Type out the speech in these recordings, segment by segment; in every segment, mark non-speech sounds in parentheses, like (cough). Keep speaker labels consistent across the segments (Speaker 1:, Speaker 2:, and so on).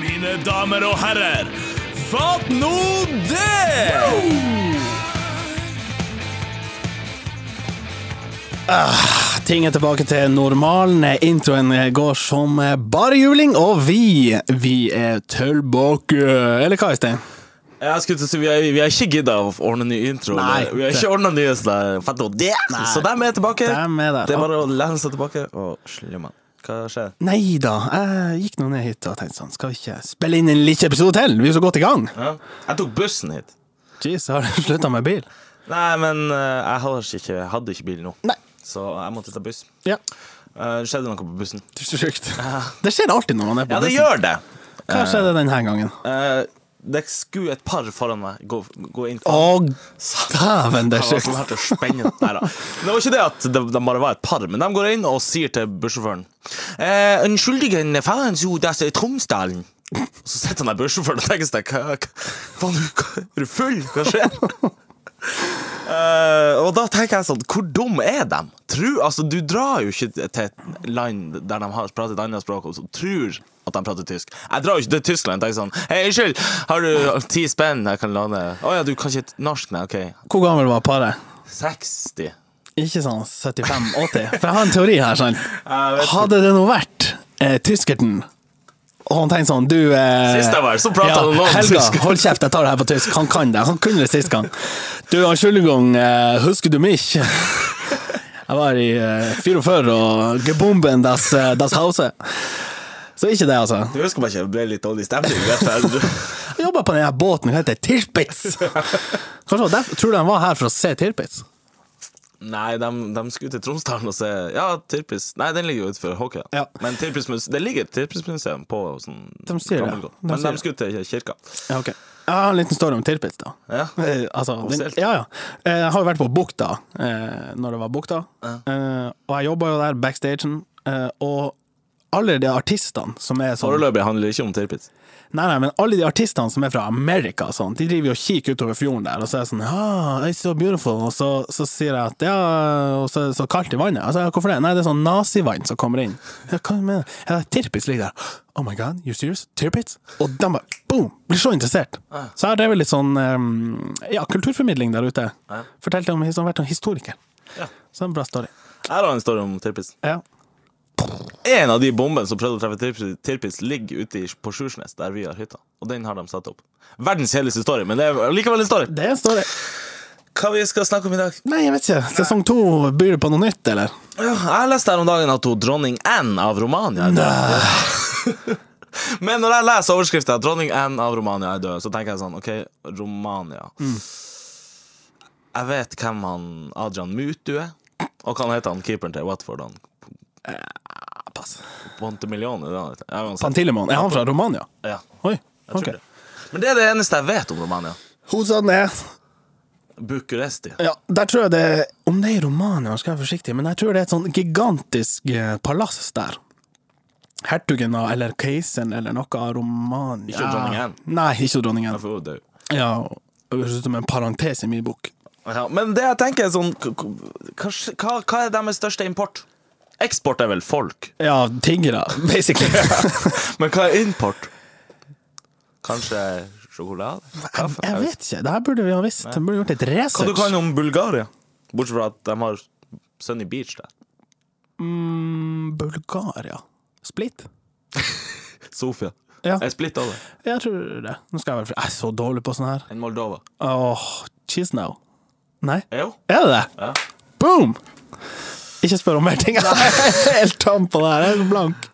Speaker 1: mine damer og herrer. Fatt nå det!
Speaker 2: Ting er tilbake til normalen. Introen går som bare juling, og vi, vi er tilbake. Eller hva, Øystein?
Speaker 1: Jeg skulle til å si, Vi er, vi er ikke gidda å ordne ny intro.
Speaker 2: Nei.
Speaker 1: eller- vi har ikke ordna nye sånne fatt nå det! Så dem er tilbake.
Speaker 2: Dem er der.
Speaker 1: Det er bare å lene seg tilbake og slemme. Hva skjer?
Speaker 2: Nei da, jeg gikk nå ned hit og tenkte sånn, skal vi ikke spille inn en liten episode til? Vi er så godt i gang.
Speaker 1: Ja. Jeg tok bussen hit.
Speaker 2: Jeez, har du slutta med bil?
Speaker 1: Nei, men eh, jeg hadde ikke, hadde ikke bil nå,
Speaker 2: Nei.
Speaker 1: så jeg måtte ta buss.
Speaker 2: Ja.
Speaker 1: Eh, skjedde noe på bussen?
Speaker 2: Sjukt. (laughs) Det skjer alltid når man er på
Speaker 1: Ja, det
Speaker 2: bussen.
Speaker 1: gjør det!
Speaker 2: Hva skjedde denne gangen?
Speaker 1: Eh, det skulle et par foran meg gå, gå inn
Speaker 2: Å,
Speaker 1: foran.
Speaker 2: dæven, det er
Speaker 1: Han var sånn
Speaker 2: sjukt.
Speaker 1: her til å spenne Nei da. Det var ikke det at de, de bare var et par, men de går inn og sier til bussjåføren eh, 'Unnskyldigen faen so das er Tromsdalen'. Og så sitter han der bussjåføren og tenker seg hva, hva, faen, du- hva, Er du full? Hva skjer?
Speaker 2: (laughs)
Speaker 1: Eh, og da tenker jeg sånn Hvor dum er de? Tror, altså, du drar jo ikke til et land der de har pratet et annet språk, og så tror at de prater tysk. Jeg drar jo ikke til Tyskland og tenker sånn Hei, unnskyld, har du ti spenn jeg kan låne? Å ja, du kan ikke norsk? Nei, OK.
Speaker 2: Hvor gammel var paret?
Speaker 1: 60.
Speaker 2: Ikke sånn 75-80. For jeg har en teori her,
Speaker 1: (laughs)
Speaker 2: sant.
Speaker 1: Jeg vet ikke.
Speaker 2: Hadde det nå vært eh, tyskerten og han tenkte sånn Du eh,
Speaker 1: Sist jeg var her, så pratet han om
Speaker 2: Helga,
Speaker 1: tysk.
Speaker 2: hold kjeft, jeg tar det her på tysk. Han kan det. Han kunne det sist gang. Du, han Skjullegang, eh, husker du mich? (laughs) Jeg var i eh, 44 og gebomben das, eh, das Hause. Så ikke det, altså.
Speaker 1: Du husker bare ikke, det ble litt dårlig stemning. Vet du.
Speaker 2: Jeg jobba på den her båten, hva heter det? Tirpitz? Kanskje det var derfor, tror du han var her for å se Tirpitz?
Speaker 1: (laughs) Nei, de, skulle til Tromsdalen og se Ja, Tirpis Nei, den ligger jo utenfor Håkøya.
Speaker 2: Ja.
Speaker 1: Men Tirpis muse- det ligger et Tirpis-museum på sånn
Speaker 2: De sier det.
Speaker 1: Gammelgård.
Speaker 2: De
Speaker 1: Men
Speaker 2: sier
Speaker 1: de
Speaker 2: det.
Speaker 1: skulle til kirka.
Speaker 2: Ja, ok. Jeg har en liten story om Tirpitz, da.
Speaker 1: Ja.
Speaker 2: Eh, altså, den,
Speaker 1: Offisielt.
Speaker 2: ja, ja. Eh, Jeg har jo vært på Bukta eh, når det var Bukta, eh, og jeg jobba jo der, backstagen, eh, og alle de artistene som er sånn
Speaker 1: Foreløpig handler det ikke om Tirpis.
Speaker 2: Nei, nei, men alle de artistene som er fra Amerika og sånn, de driver jo og kikker utover fjorden der, og så er jeg sånn ah, it's so beautiful, og så, så sier jeg at ja, og så er det så kaldt i vannet. Altså, hvorfor det? Nei, det er sånn nazivann som kommer inn. Ja, hva mener du? Ja, Tirpitz ligger der. Oh my god, you serious? Tirpitz? Og de bare boom! Blir så interessert. Så jeg har drevet litt sånn um, ja, kulturformidling der ute. Fortalte om historien, vært en historiker.
Speaker 1: Ja.
Speaker 2: Så det er en bra story.
Speaker 1: Jeg har en story om Tirpis.
Speaker 2: Ja.
Speaker 1: En av de bombene som prøvde å treffe Tirpis, Tirpis ligger ute i- på Sjursnes, der vi har hytta. Og den har de satt opp. Verdens heleste story, men det er likevel en story.
Speaker 2: Det er en story.
Speaker 1: Hva vi skal snakke om i dag?
Speaker 2: Nei, jeg vet ikke. Sesong to, byr det på noe nytt, eller?
Speaker 1: Ja, jeg leste her om dagen at hun dronning Anne av Romania er død. (laughs) Men når jeg leser overskriften at dronning Anne av Romania er død, så tenker jeg sånn OK, Romania. Jeg vet hvem han Adrian Mutu er. Og hva han heter han keeperen til Watford? Han
Speaker 2: Ah, pass.
Speaker 1: Pontemillion? er det han heter? Ja, uansett.
Speaker 2: Pantilemon. Er han fra Romania?
Speaker 1: Ja,
Speaker 2: Oi,
Speaker 1: jeg tror
Speaker 2: ok.
Speaker 1: det. Men det er det eneste jeg vet om Romania.
Speaker 2: Hovedstaden er
Speaker 1: Bucuresti.
Speaker 2: Ja, der tror jeg det er Om det er i Romania, skal jeg være forsiktig, men jeg tror det er et sånn gigantisk eh, palass der. Hertugen av, eller keiseren eller noe av Romania
Speaker 1: Ikke dronningen.
Speaker 2: Nei, ikke dronningen.
Speaker 1: Derfor er hun død.
Speaker 2: Ja, det høres ut som en parentes i min bok.
Speaker 1: Ja, men det jeg tenker er sånn k- k- Hva, hva, hva er deres største import? Eksport er vel folk?
Speaker 2: Ja, tiggere,
Speaker 1: (laughs)
Speaker 2: basically.
Speaker 1: Men hva er import? Kanskje sjokolade? Kaffe?
Speaker 2: jeg vet ikke, det her burde vi ha visst. Vi burde gjort litt
Speaker 1: Hva du
Speaker 2: research.
Speaker 1: kan om Bulgaria? Bortsett fra at de har Sunny Beach der.
Speaker 2: Mm, Bulgaria. Split?
Speaker 1: Sofia.
Speaker 2: Ja,
Speaker 1: Jeg splitta det.
Speaker 2: jeg tror det. Nå skal jeg være Jeg er så dårlig på sånn her.
Speaker 1: Enn Moldova.
Speaker 2: Åh, cheese now. Nei.
Speaker 1: Jo.
Speaker 2: Er det det?
Speaker 1: Ja.
Speaker 2: Boom! Ikke spør om mer ting. Jeg er (laughs) helt tam på det her. Jeg er blank.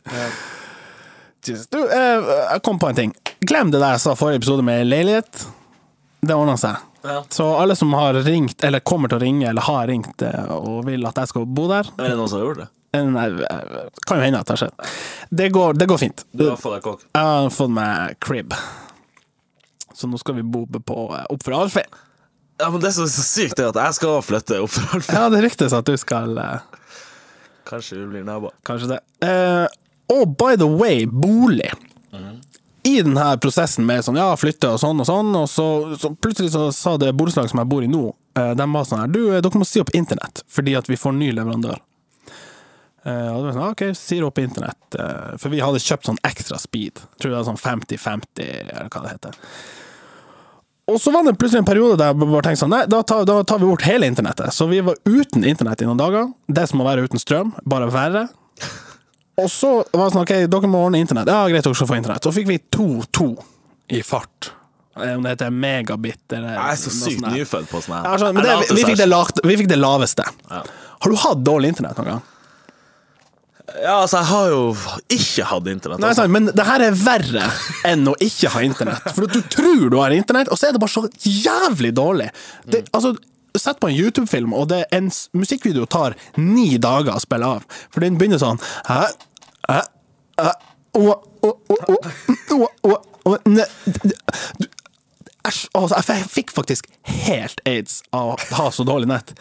Speaker 2: Jesus. Du, eh, jeg kom på en ting. Glem det der jeg sa forrige episode med leilighet. Det ordner seg.
Speaker 1: Ja.
Speaker 2: Så alle som har ringt, eller kommer til å ringe, eller har ringt eh, og vil at jeg skal bo der
Speaker 1: Er det noen som har gjort det?
Speaker 2: eh, Nei, eh, kan jo hende at det har skjedd. Det går, det går fint.
Speaker 1: Du har fått deg kokk.
Speaker 2: Jeg har fått meg crib. Så nå skal vi bo på eh, opp fra Alfheim.
Speaker 1: Ja, men det som er så sykt, er at jeg skal flytte opp fra Alfa.
Speaker 2: Ja, det ryktes at du skal eh,
Speaker 1: (laughs) Kanskje vi blir naboer.
Speaker 2: Kanskje det. Eh, og by the way, bolig. I denne prosessen med sånn, ja, flytte og sånn og sånn, og så, så plutselig så sa det borettslaget som jeg bor i nå, eh, de var sånn her, du, eh, dere må si opp internett, fordi at vi får ny leverandør. Eh, og det var sånn, ok, sier opp internett. eh, for vi hadde kjøpt sånn ekstra speed. Jeg tror det var sånn 50-50, eller hva det heter. Og så var det plutselig en periode der jeg bare tenkte sånn, nei, da tar, da tar vi bort hele internettet. Så vi var uten internett i noen dager. Det som å være uten strøm, bare verre. Og så var det sånn, ok, dere må ordne internett. Ja, greit, dere skal få internett. Så fikk vi 2-2 i fart. Eh, Om det heter megabit eller
Speaker 1: Jeg er så
Speaker 2: noe
Speaker 1: sykt
Speaker 2: sånt der.
Speaker 1: nyfødt på sånn her.
Speaker 2: Ja, skjønner, men
Speaker 1: Jeg
Speaker 2: det,
Speaker 1: later
Speaker 2: vi, fikk
Speaker 1: som.
Speaker 2: det lagt, vi fikk det laveste.
Speaker 1: Ja.
Speaker 2: Har du hatt dårlig internett noen gang?
Speaker 1: Ja, altså, jeg har jo ikke hatt internett.
Speaker 2: Nei,
Speaker 1: altså.
Speaker 2: sant, men det her er verre enn å ikke ha internett. For at du tror du har internett, og så er det bare så jævlig dårlig. Det, altså, Sett på en YouTube-film, og det en s- musikkvideo tar ni dager å spille av. For den begynner sånn Hæ? Hæ? Hæ? Å, å, å, å, å, å, å, ne- du- Æsj. Altså, jeg f- fikk faktisk helt aids av å ha så dårlig nett.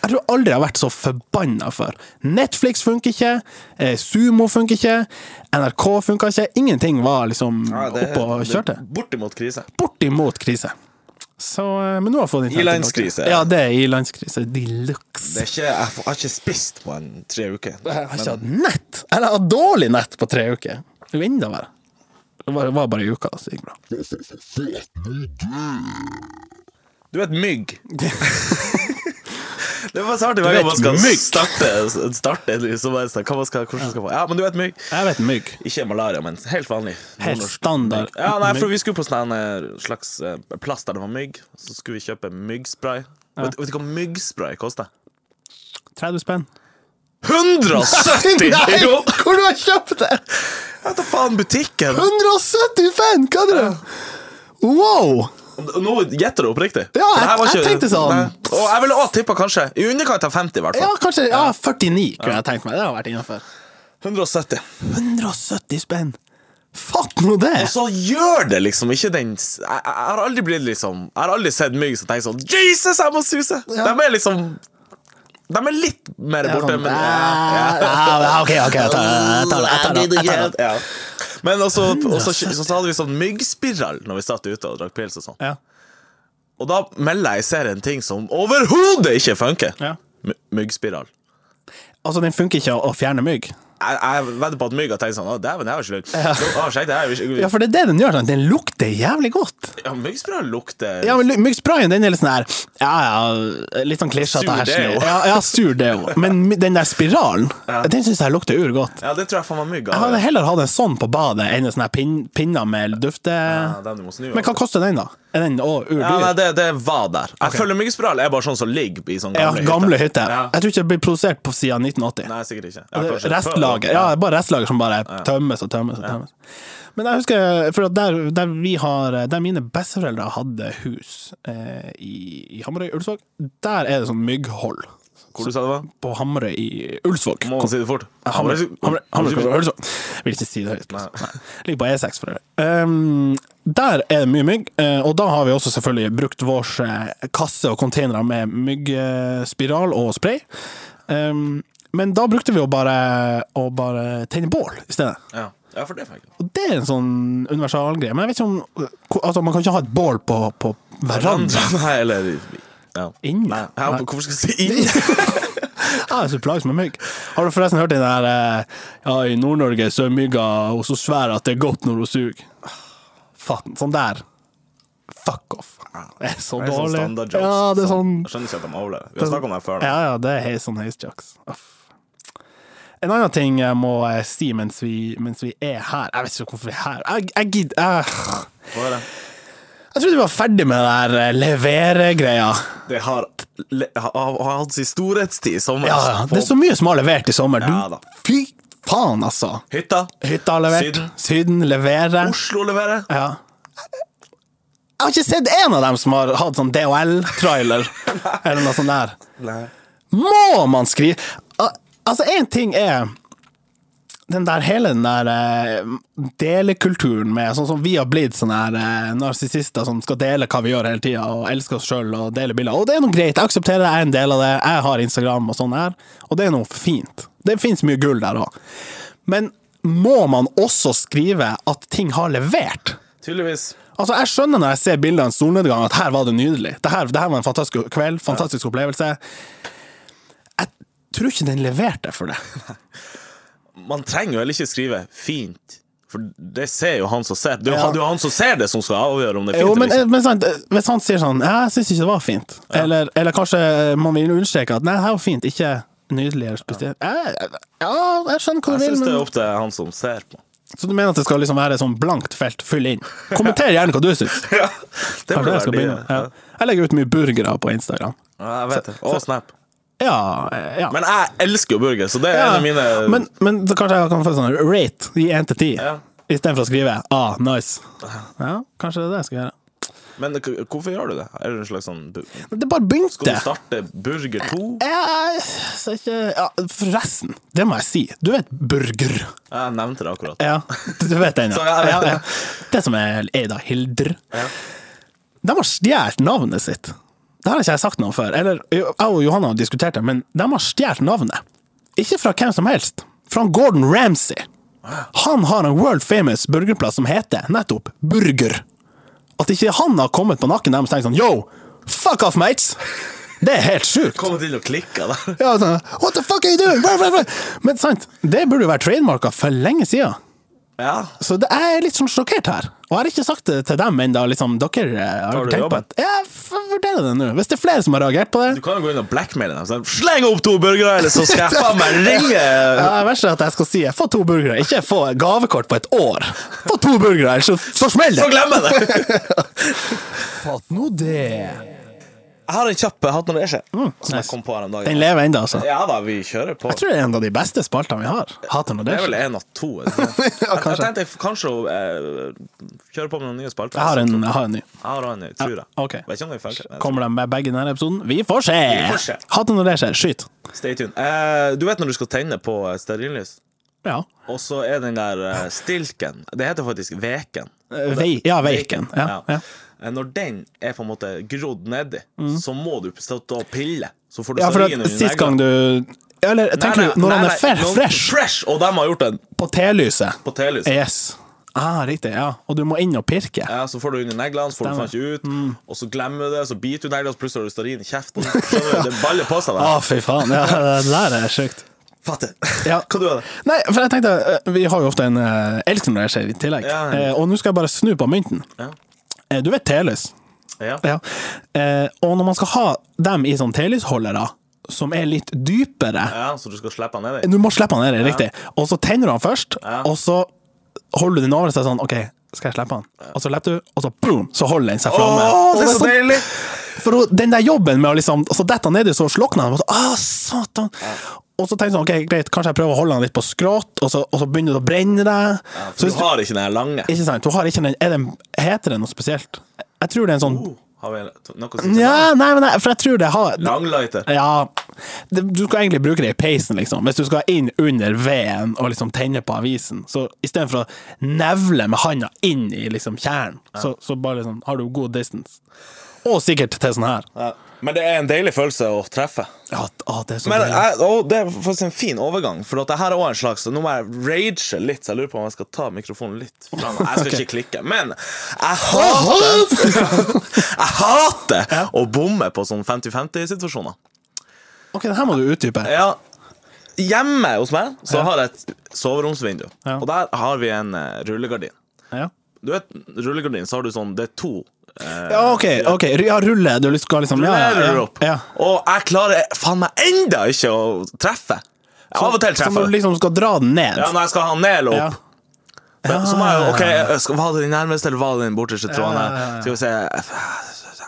Speaker 2: Jeg tror aldri jeg har vært så forbanna før. Netflix funker ikke, eh, Sumo funker ikke, NRK funka ikke. Ingenting var liksom
Speaker 1: Ja, det-
Speaker 2: oppe og kjørte.
Speaker 1: det- Bortimot krise.
Speaker 2: Bortimot krise. Så, eh, men nå har jeg fått internett tilbake.
Speaker 1: I-landskrise.
Speaker 2: Ja, det er ilandskrise de luxe.
Speaker 1: Det er ikke, jeg får- jeg har ikke spist på en tre uker.
Speaker 2: Jeg har ikke hatt nett! Eller jeg har hatt dårlig nett på tre uker. Det er jo enda verre. Det var, det var bare i uka, så det gikk bra.
Speaker 1: Du er et mygg. (laughs) det var så artig
Speaker 2: Du er
Speaker 1: hver gang man
Speaker 2: et
Speaker 1: skal
Speaker 2: mygg.
Speaker 1: starte, starte liksom, hva skal, hva man skal, hvordan skal man Ja, men du er et mygg.
Speaker 2: Jeg vet mygg.
Speaker 1: Ikke malaria, men helt vanlig.
Speaker 2: Helt
Speaker 1: nordnorsk
Speaker 2: standard.
Speaker 1: mygg. Ja, nei, for Vi skulle på sånn en slags eh, plass der det var mygg. Så skulle vi kjøpe myggspray. Vet, vet du hva myggspray koster?
Speaker 2: 30 spenn.
Speaker 1: 170!
Speaker 2: (laughs) Nei,
Speaker 1: (laughs) Jo!
Speaker 2: Hvor du har kjøpt det?!
Speaker 1: Hva da faen butikken?
Speaker 2: 170 spenn! Hva er det? Wow!
Speaker 1: Nå gjetter du oppriktig.
Speaker 2: Ja,
Speaker 1: For det her var
Speaker 2: jeg- jeg tenkte sånn.
Speaker 1: Nei. Og jeg ville også tippa kanskje i underkant av 50, i hvert
Speaker 2: Ja,
Speaker 1: fall.
Speaker 2: kanskje ja, 49 kunne jeg tenkt meg. Det har vært innenfor.
Speaker 1: 170.
Speaker 2: 170 spenn! Fatt nå det!
Speaker 1: Og så gjør det liksom ikke den s- Jeg, jeg har aldri blitt liksom Jeg har aldri sett mygg som tenker sånn Jesus, jeg må suse!
Speaker 2: Ja.
Speaker 1: De er liksom De er litt mer
Speaker 2: Jeg er
Speaker 1: borte,
Speaker 2: sånn,
Speaker 1: men
Speaker 2: "Ah, ah, Ok, ok, jeg tar det. Jeg tar det. Jeg tar det. Jeg tar det. Mm,
Speaker 1: Ja. Men også, også, så, så hadde vi sånn myggspiral når vi satt ute og drakk pils og sånn.
Speaker 2: Ja.
Speaker 1: Og da melder jeg i serien ting som overhodet ikke funker.
Speaker 2: Ja.
Speaker 1: My- Myggspiral.
Speaker 2: Altså, den funker ikke å- å fjerne mygg.
Speaker 1: Jeg, jeg vedder på at mygg har tenkt sånn Å, dæven, det her var ikke lurt. Å, sjekk, det her er jo
Speaker 2: Ja,
Speaker 1: ikke
Speaker 2: for det er det den gjør. Sant? Den lukter jævlig godt.
Speaker 1: ja, Myggspiral lukter
Speaker 2: Ja, men Myggsprayen den er litt sånn her Ja, ja, litt sånn klisjete
Speaker 1: Sur
Speaker 2: herselig.
Speaker 1: deo.
Speaker 2: Ja, ja, sur deo. Men my- den der spiralen, den syns jeg lukter urgodt.
Speaker 1: Ja, det tror jeg faen meg mygg
Speaker 2: Jeg
Speaker 1: har.
Speaker 2: hadde heller hatt en sånn på badet enn en sånn her pin, pinne med dufte...
Speaker 1: Ja, den du må snu
Speaker 2: Men hva
Speaker 1: over.
Speaker 2: koster den, da? Er den òg urdyr?
Speaker 1: ja,
Speaker 2: Ja,
Speaker 1: nei, det, det var der. Jeg føler myggspiral er bare sånn som ligger i sånn gamle,
Speaker 2: gamle hytter.
Speaker 1: Ja.
Speaker 2: Jeg tror ikke det blir produsert på siden 1980.
Speaker 1: Nei, sikkert ikke. Ja,
Speaker 2: Det
Speaker 1: kanskje.
Speaker 2: er Restlager. Ja, bare restlager som bare tømmes og tømmes og tømmes. Men jeg husker, for at der, der, vi har, der mine besteforeldre hadde hus eh, i, i Hamarøy, Ulsvåg, der er det sånn mygghold.
Speaker 1: Hvor du sa det var?
Speaker 2: På Hamarøy i Ulsvåg.
Speaker 1: Må man si det fort?
Speaker 2: Hamre, Hamre, Hamre, Vil ikke si det høyt. Nei. Ligger på E6 for øvrig. Um, der er det mye mygg, eh, og da har vi også selvfølgelig brukt vår eh, kasse og containere med myggspiral og spray. Um, men da brukte vi å bare, å bare tenne bål i stedet.
Speaker 1: Ja. ja, for det fikk jeg.
Speaker 2: Og det er en sånn universalgreie. Men jeg vet ikke om hvor- altså, Man kan ikke ha et bål på, på verandaen.
Speaker 1: (laughs) Nei, eller ja.
Speaker 2: Inne.
Speaker 1: Nei, ja,
Speaker 2: Nei.
Speaker 1: hvorfor skal jeg si inn?
Speaker 2: (laughs) Jeg er Ah, så plaget med mygg. Har du forresten hørt den der eh, Ja, i Nord-Norge så er mygga og så svær at det er godt når hun suger. Fatten. Sånn der. Fuck off. Det er så
Speaker 1: Det er sånn
Speaker 2: dårlig.
Speaker 1: standard jokes.
Speaker 2: Ja, det er sånn
Speaker 1: Jeg skjønner ikke at de overlever. Vi har snakket om det her før. da.
Speaker 2: Ja, ja, det er he- sånn heisjokes. Uff. En annen ting jeg må eh, si mens vi, mens vi er her Jeg vet ikke hvorfor vi er her. Jeg, jeg gidder jeg-
Speaker 1: Hva er det?
Speaker 2: Jeg trodde vi var ferdig med den der eh, levere-greia.
Speaker 1: Det har, le, har, har hatt sin storhetstid i sommer.
Speaker 2: Ja, ja. Det er så mye som har levert i sommer.
Speaker 1: Ja, da.
Speaker 2: Du, fy faen, altså.
Speaker 1: Hytta.
Speaker 2: Hytta har levert.
Speaker 1: Syden.
Speaker 2: Syden, leverer.
Speaker 1: Oslo leverer.
Speaker 2: Ja. Jeg har ikke sett en av dem som har hatt sånn DHL-trailer, (laughs) eller noe sånt der.
Speaker 1: Nei.
Speaker 2: Må man skrive Al- Altså, én ting er den der, hele den der eh, delekulturen med Sånn som vi har blitt sånne her eh, narsissister som skal dele hva vi gjør hele tida, og elsker oss sjøl og dele bilder. Og det er noe greit, jeg aksepterer det, jeg er en del av det, jeg har Instagram og sånn her, og det er noe fint. Det fins mye gull der òg. Men må man også skrive at ting har levert?
Speaker 1: Tydeligvis.
Speaker 2: Altså, Jeg skjønner når jeg ser bilder av en solnedgang, at her var det nydelig. Det her, det her var en fantastisk kveld, fantastisk opplevelse. Jeg tror ikke den leverte for det.
Speaker 1: Man trenger jo heller ikke skrive 'fint', for det ser jo han som ser det. er jo
Speaker 2: Ja.
Speaker 1: han- Det er jo han som ser det, som skal avgjøre om det er
Speaker 2: (laughs)
Speaker 1: fint
Speaker 2: Jo, men, eh,
Speaker 1: eller ikke.
Speaker 2: men sant, Hvis han sier sånn «Ja, 'Jeg syns ikke det var fint', eller, eller kanskje eh, man vil understreke at 'nei, det her var fint', ikke nydelig eller spesielt ja. ja, jeg skjønner hva
Speaker 1: Jeg
Speaker 2: du vil,
Speaker 1: syns det er
Speaker 2: men
Speaker 1: opp til han som ser på.
Speaker 2: Så du mener at det skal liksom være et sånn blankt felt, fyll inn? Kommenter gjerne hva du syns.
Speaker 1: (laughs) Ja, det
Speaker 2: Kanskje jeg skal
Speaker 1: blir
Speaker 2: begynne. Ja. Jeg legger ut mye burgere på Instagram.
Speaker 1: Ja, jeg vet det. Og Snap.
Speaker 2: Ja, eh, ja.
Speaker 1: Men jeg elsker jo burger, så det er en
Speaker 2: ja.
Speaker 1: av mine
Speaker 2: Men, men så kanskje jeg kan få sånn rate, gi 1 til 10,
Speaker 1: Ja.
Speaker 2: istedenfor å skrive ah, nice. Ja, kanskje det er det jeg skal gjøre.
Speaker 1: Men k- hvorfor gjør du det? Er du en slags sånn bu-
Speaker 2: Men det bare begynte.
Speaker 1: Skal du starte Burger 2?
Speaker 2: Jeg ser ikke ja, Forresten, det må jeg si. Du vet burger.
Speaker 1: Jeg nevnte det akkurat.
Speaker 2: Ja, du vet den,
Speaker 1: Så
Speaker 2: ja.
Speaker 1: jeg vet
Speaker 2: ja,
Speaker 1: det.
Speaker 2: ja. Det som er Eida Hildr.
Speaker 1: Ja.
Speaker 2: De har stjålet navnet sitt. Det har ikke jeg sagt noe om før. Eller, jo, jeg og Johanna har diskutert det, men de har stjålet navnet. Ikke fra hvem som helst. Fra Gordon Ramsay. Han har en world famous burgerplass som heter nettopp Burger. At ikke han har kommet på nakken deres og tenkt sånn Yo, fuck off, mates! Det er helt sjukt.
Speaker 1: Kommer til å klikke der.
Speaker 2: Ja, sånn, What the fuck are you doing? Blah, blah, blah. Men sant, det burde jo være trademarka for lenge siden.
Speaker 1: (laughs) Ja.
Speaker 2: Så det jeg er litt sånn sjokkert her. Og jeg har ikke sagt det til dem ennå. Liksom, dere eh,
Speaker 1: Tar
Speaker 2: har
Speaker 1: du
Speaker 2: tenkt på
Speaker 1: jobben?
Speaker 2: at Jeg f- vurderer det nå. Hvis det er flere som har reagert på
Speaker 1: Du
Speaker 2: det
Speaker 1: kan jo gå inn og blackmaile dem. Sånn, Sleng opp to burgere, eller så skal jeg faen meg ringe
Speaker 2: (laughs) ja, det verste er at jeg skal si jeg får to burgere, ikke få gavekort på et år. Få to burgere, ellers så, så smeller
Speaker 1: Så
Speaker 2: det!
Speaker 1: glemmer jeg det!
Speaker 2: Fatt nå det.
Speaker 1: Jeg har en kjapp hatt når det skjer, som jeg
Speaker 2: Mm, nice.
Speaker 1: kom på her en dag.
Speaker 2: Den lever ennå, altså.
Speaker 1: Ja da, vi kjører på.
Speaker 2: Jeg tror det er en av de beste spaltene vi har. Hater når
Speaker 1: Det
Speaker 2: det
Speaker 1: er vel
Speaker 2: skjer.
Speaker 1: en av to. er det
Speaker 2: (laughs)
Speaker 1: ikke?
Speaker 2: Ja,
Speaker 1: Jeg jeg
Speaker 2: kanskje.
Speaker 1: tenkte jeg f- kanskje å eh, kjøre på med noen nye spalter.
Speaker 2: Jeg har en, jeg har en ny.
Speaker 1: Jeg har en, jeg tror jeg.
Speaker 2: ok.
Speaker 1: Vet ikke om vi er ferdig. men-
Speaker 2: Kommer de med begge i denne episoden? Vi får se!
Speaker 1: Vi får se.
Speaker 2: Hater når det skjer. Skyt.
Speaker 1: Stay tuned. Eh, du vet når du skal tenne på eh, stearinlys,
Speaker 2: Ja.
Speaker 1: og så er den der eh, stilken Det heter faktisk veken.
Speaker 2: Vei, ja, veiken. Ja, ja. Mm.
Speaker 1: Eh, Når den er på en måte grodd nedi, så må du stå og pille. Så får du
Speaker 2: ja, for
Speaker 1: stearinen
Speaker 2: at
Speaker 1: under
Speaker 2: sist
Speaker 1: negla.
Speaker 2: gang du Eller tenker
Speaker 1: Nei,
Speaker 2: du når
Speaker 1: nei,
Speaker 2: han er
Speaker 1: nei,
Speaker 2: fer,
Speaker 1: når-
Speaker 2: fresh
Speaker 1: Fresh, Og de har gjort den
Speaker 2: på T-lyset?
Speaker 1: på telys.
Speaker 2: Yes. Ah, riktig, ja. Og du må inn og pirke.
Speaker 1: Ja, så får du under neglene, så får du
Speaker 2: Stemmer.
Speaker 1: faen ikke ut, og så glemmer du det, så biter du negla, så plutselig har du stearin i kjeften. Skjønner du? Det baller på seg.
Speaker 2: Å,
Speaker 1: der.
Speaker 2: Ah, fy faen.
Speaker 1: (laughs)
Speaker 2: Ja, det der er sjukt.
Speaker 1: Fatter.
Speaker 2: Ja.
Speaker 1: Hva du hadde
Speaker 2: Nei, for jeg tenkte eh, Vi har jo ofte en eh, elsker når det skjer i tillegg.
Speaker 1: Ja.
Speaker 2: Eh, og nå skal jeg bare snu på mynten.
Speaker 1: Ja.
Speaker 2: Eh, du vet telys?
Speaker 1: Ja.
Speaker 2: Ja. Eh, og når man skal ha dem i sånn telysholdere som er litt dypere
Speaker 1: ja, så du skal slippe han nedi?
Speaker 2: Du må slippe han ned, det er riktig. Og så tenner du han først,
Speaker 1: Ja.
Speaker 2: og så holder du den over seg sånn, OK, skal jeg slippe han? Og så slipper du, og så boom, så holder den seg framme.
Speaker 1: Åh, det er så
Speaker 2: sånn-
Speaker 1: deilig!
Speaker 2: For hun- den der jobben med å liksom Og så detter han nedi, så slokner han. Og så, ah, satan. Og så tenker du sånn, ok, greit, kanskje jeg prøver å holde han litt på skrått, og så, og så begynner det å brenne deg.
Speaker 1: Ja,
Speaker 2: så
Speaker 1: for
Speaker 2: hvis
Speaker 1: du
Speaker 2: du,
Speaker 1: har ikke den her lange.
Speaker 2: ikke sant, du har ikke den, er den Heter det noe spesielt? Jeg tror det er en sånn
Speaker 1: Oh, har vi noe som
Speaker 2: Nja, nei, men jeg, for jeg tror det har
Speaker 1: Langlighter.
Speaker 2: Ja, det, du skal egentlig bruke det i peisen, liksom. Hvis du skal inn under veden og liksom tenne på avisen, så istedenfor å nevle med handa inn i liksom kjernen, så, så bare liksom har du god distance. Og sikkert til sånn her.
Speaker 1: Ja. Men det er en deilig følelse å treffe.
Speaker 2: Ja, å, det er så
Speaker 1: Men
Speaker 2: deilig.
Speaker 1: jeg, å, Det er faktisk en fin overgang, for at det her er også en slags Nå må jeg rage litt, så jeg lurer på om jeg skal ta mikrofonen litt fra meg. Jeg skal ikke klikke. Men jeg hater Jeg hater å bomme på sånn 50-50-situasjoner.
Speaker 2: Ok, det her må du utdype.
Speaker 1: Ja Hjemme hos meg så
Speaker 2: Ja.
Speaker 1: har jeg et soveromsvindu,
Speaker 2: Ja.
Speaker 1: og der har vi en eh, rullegardin.
Speaker 2: Ja.
Speaker 1: Du vet, rullegardin, så har du sånn Det er to eh,
Speaker 2: Ja, ok, ok. Ja, rulle. Du skal liksom ja, ja,
Speaker 1: Lever
Speaker 2: ja.
Speaker 1: opp.
Speaker 2: ja.
Speaker 1: Og jeg klarer faen meg enda ikke å treffe. Jeg av og til
Speaker 2: Som du
Speaker 1: treffer jeg.
Speaker 2: liksom skal dra den ned.
Speaker 1: Ja, når jeg skal ha den ned eller
Speaker 2: Ja.
Speaker 1: opp. Men Så må jeg jo, ok, jeg skal, Var det den nærmeste, eller var det den borteste tråden? her?
Speaker 2: ja, ja.
Speaker 1: Skal vi se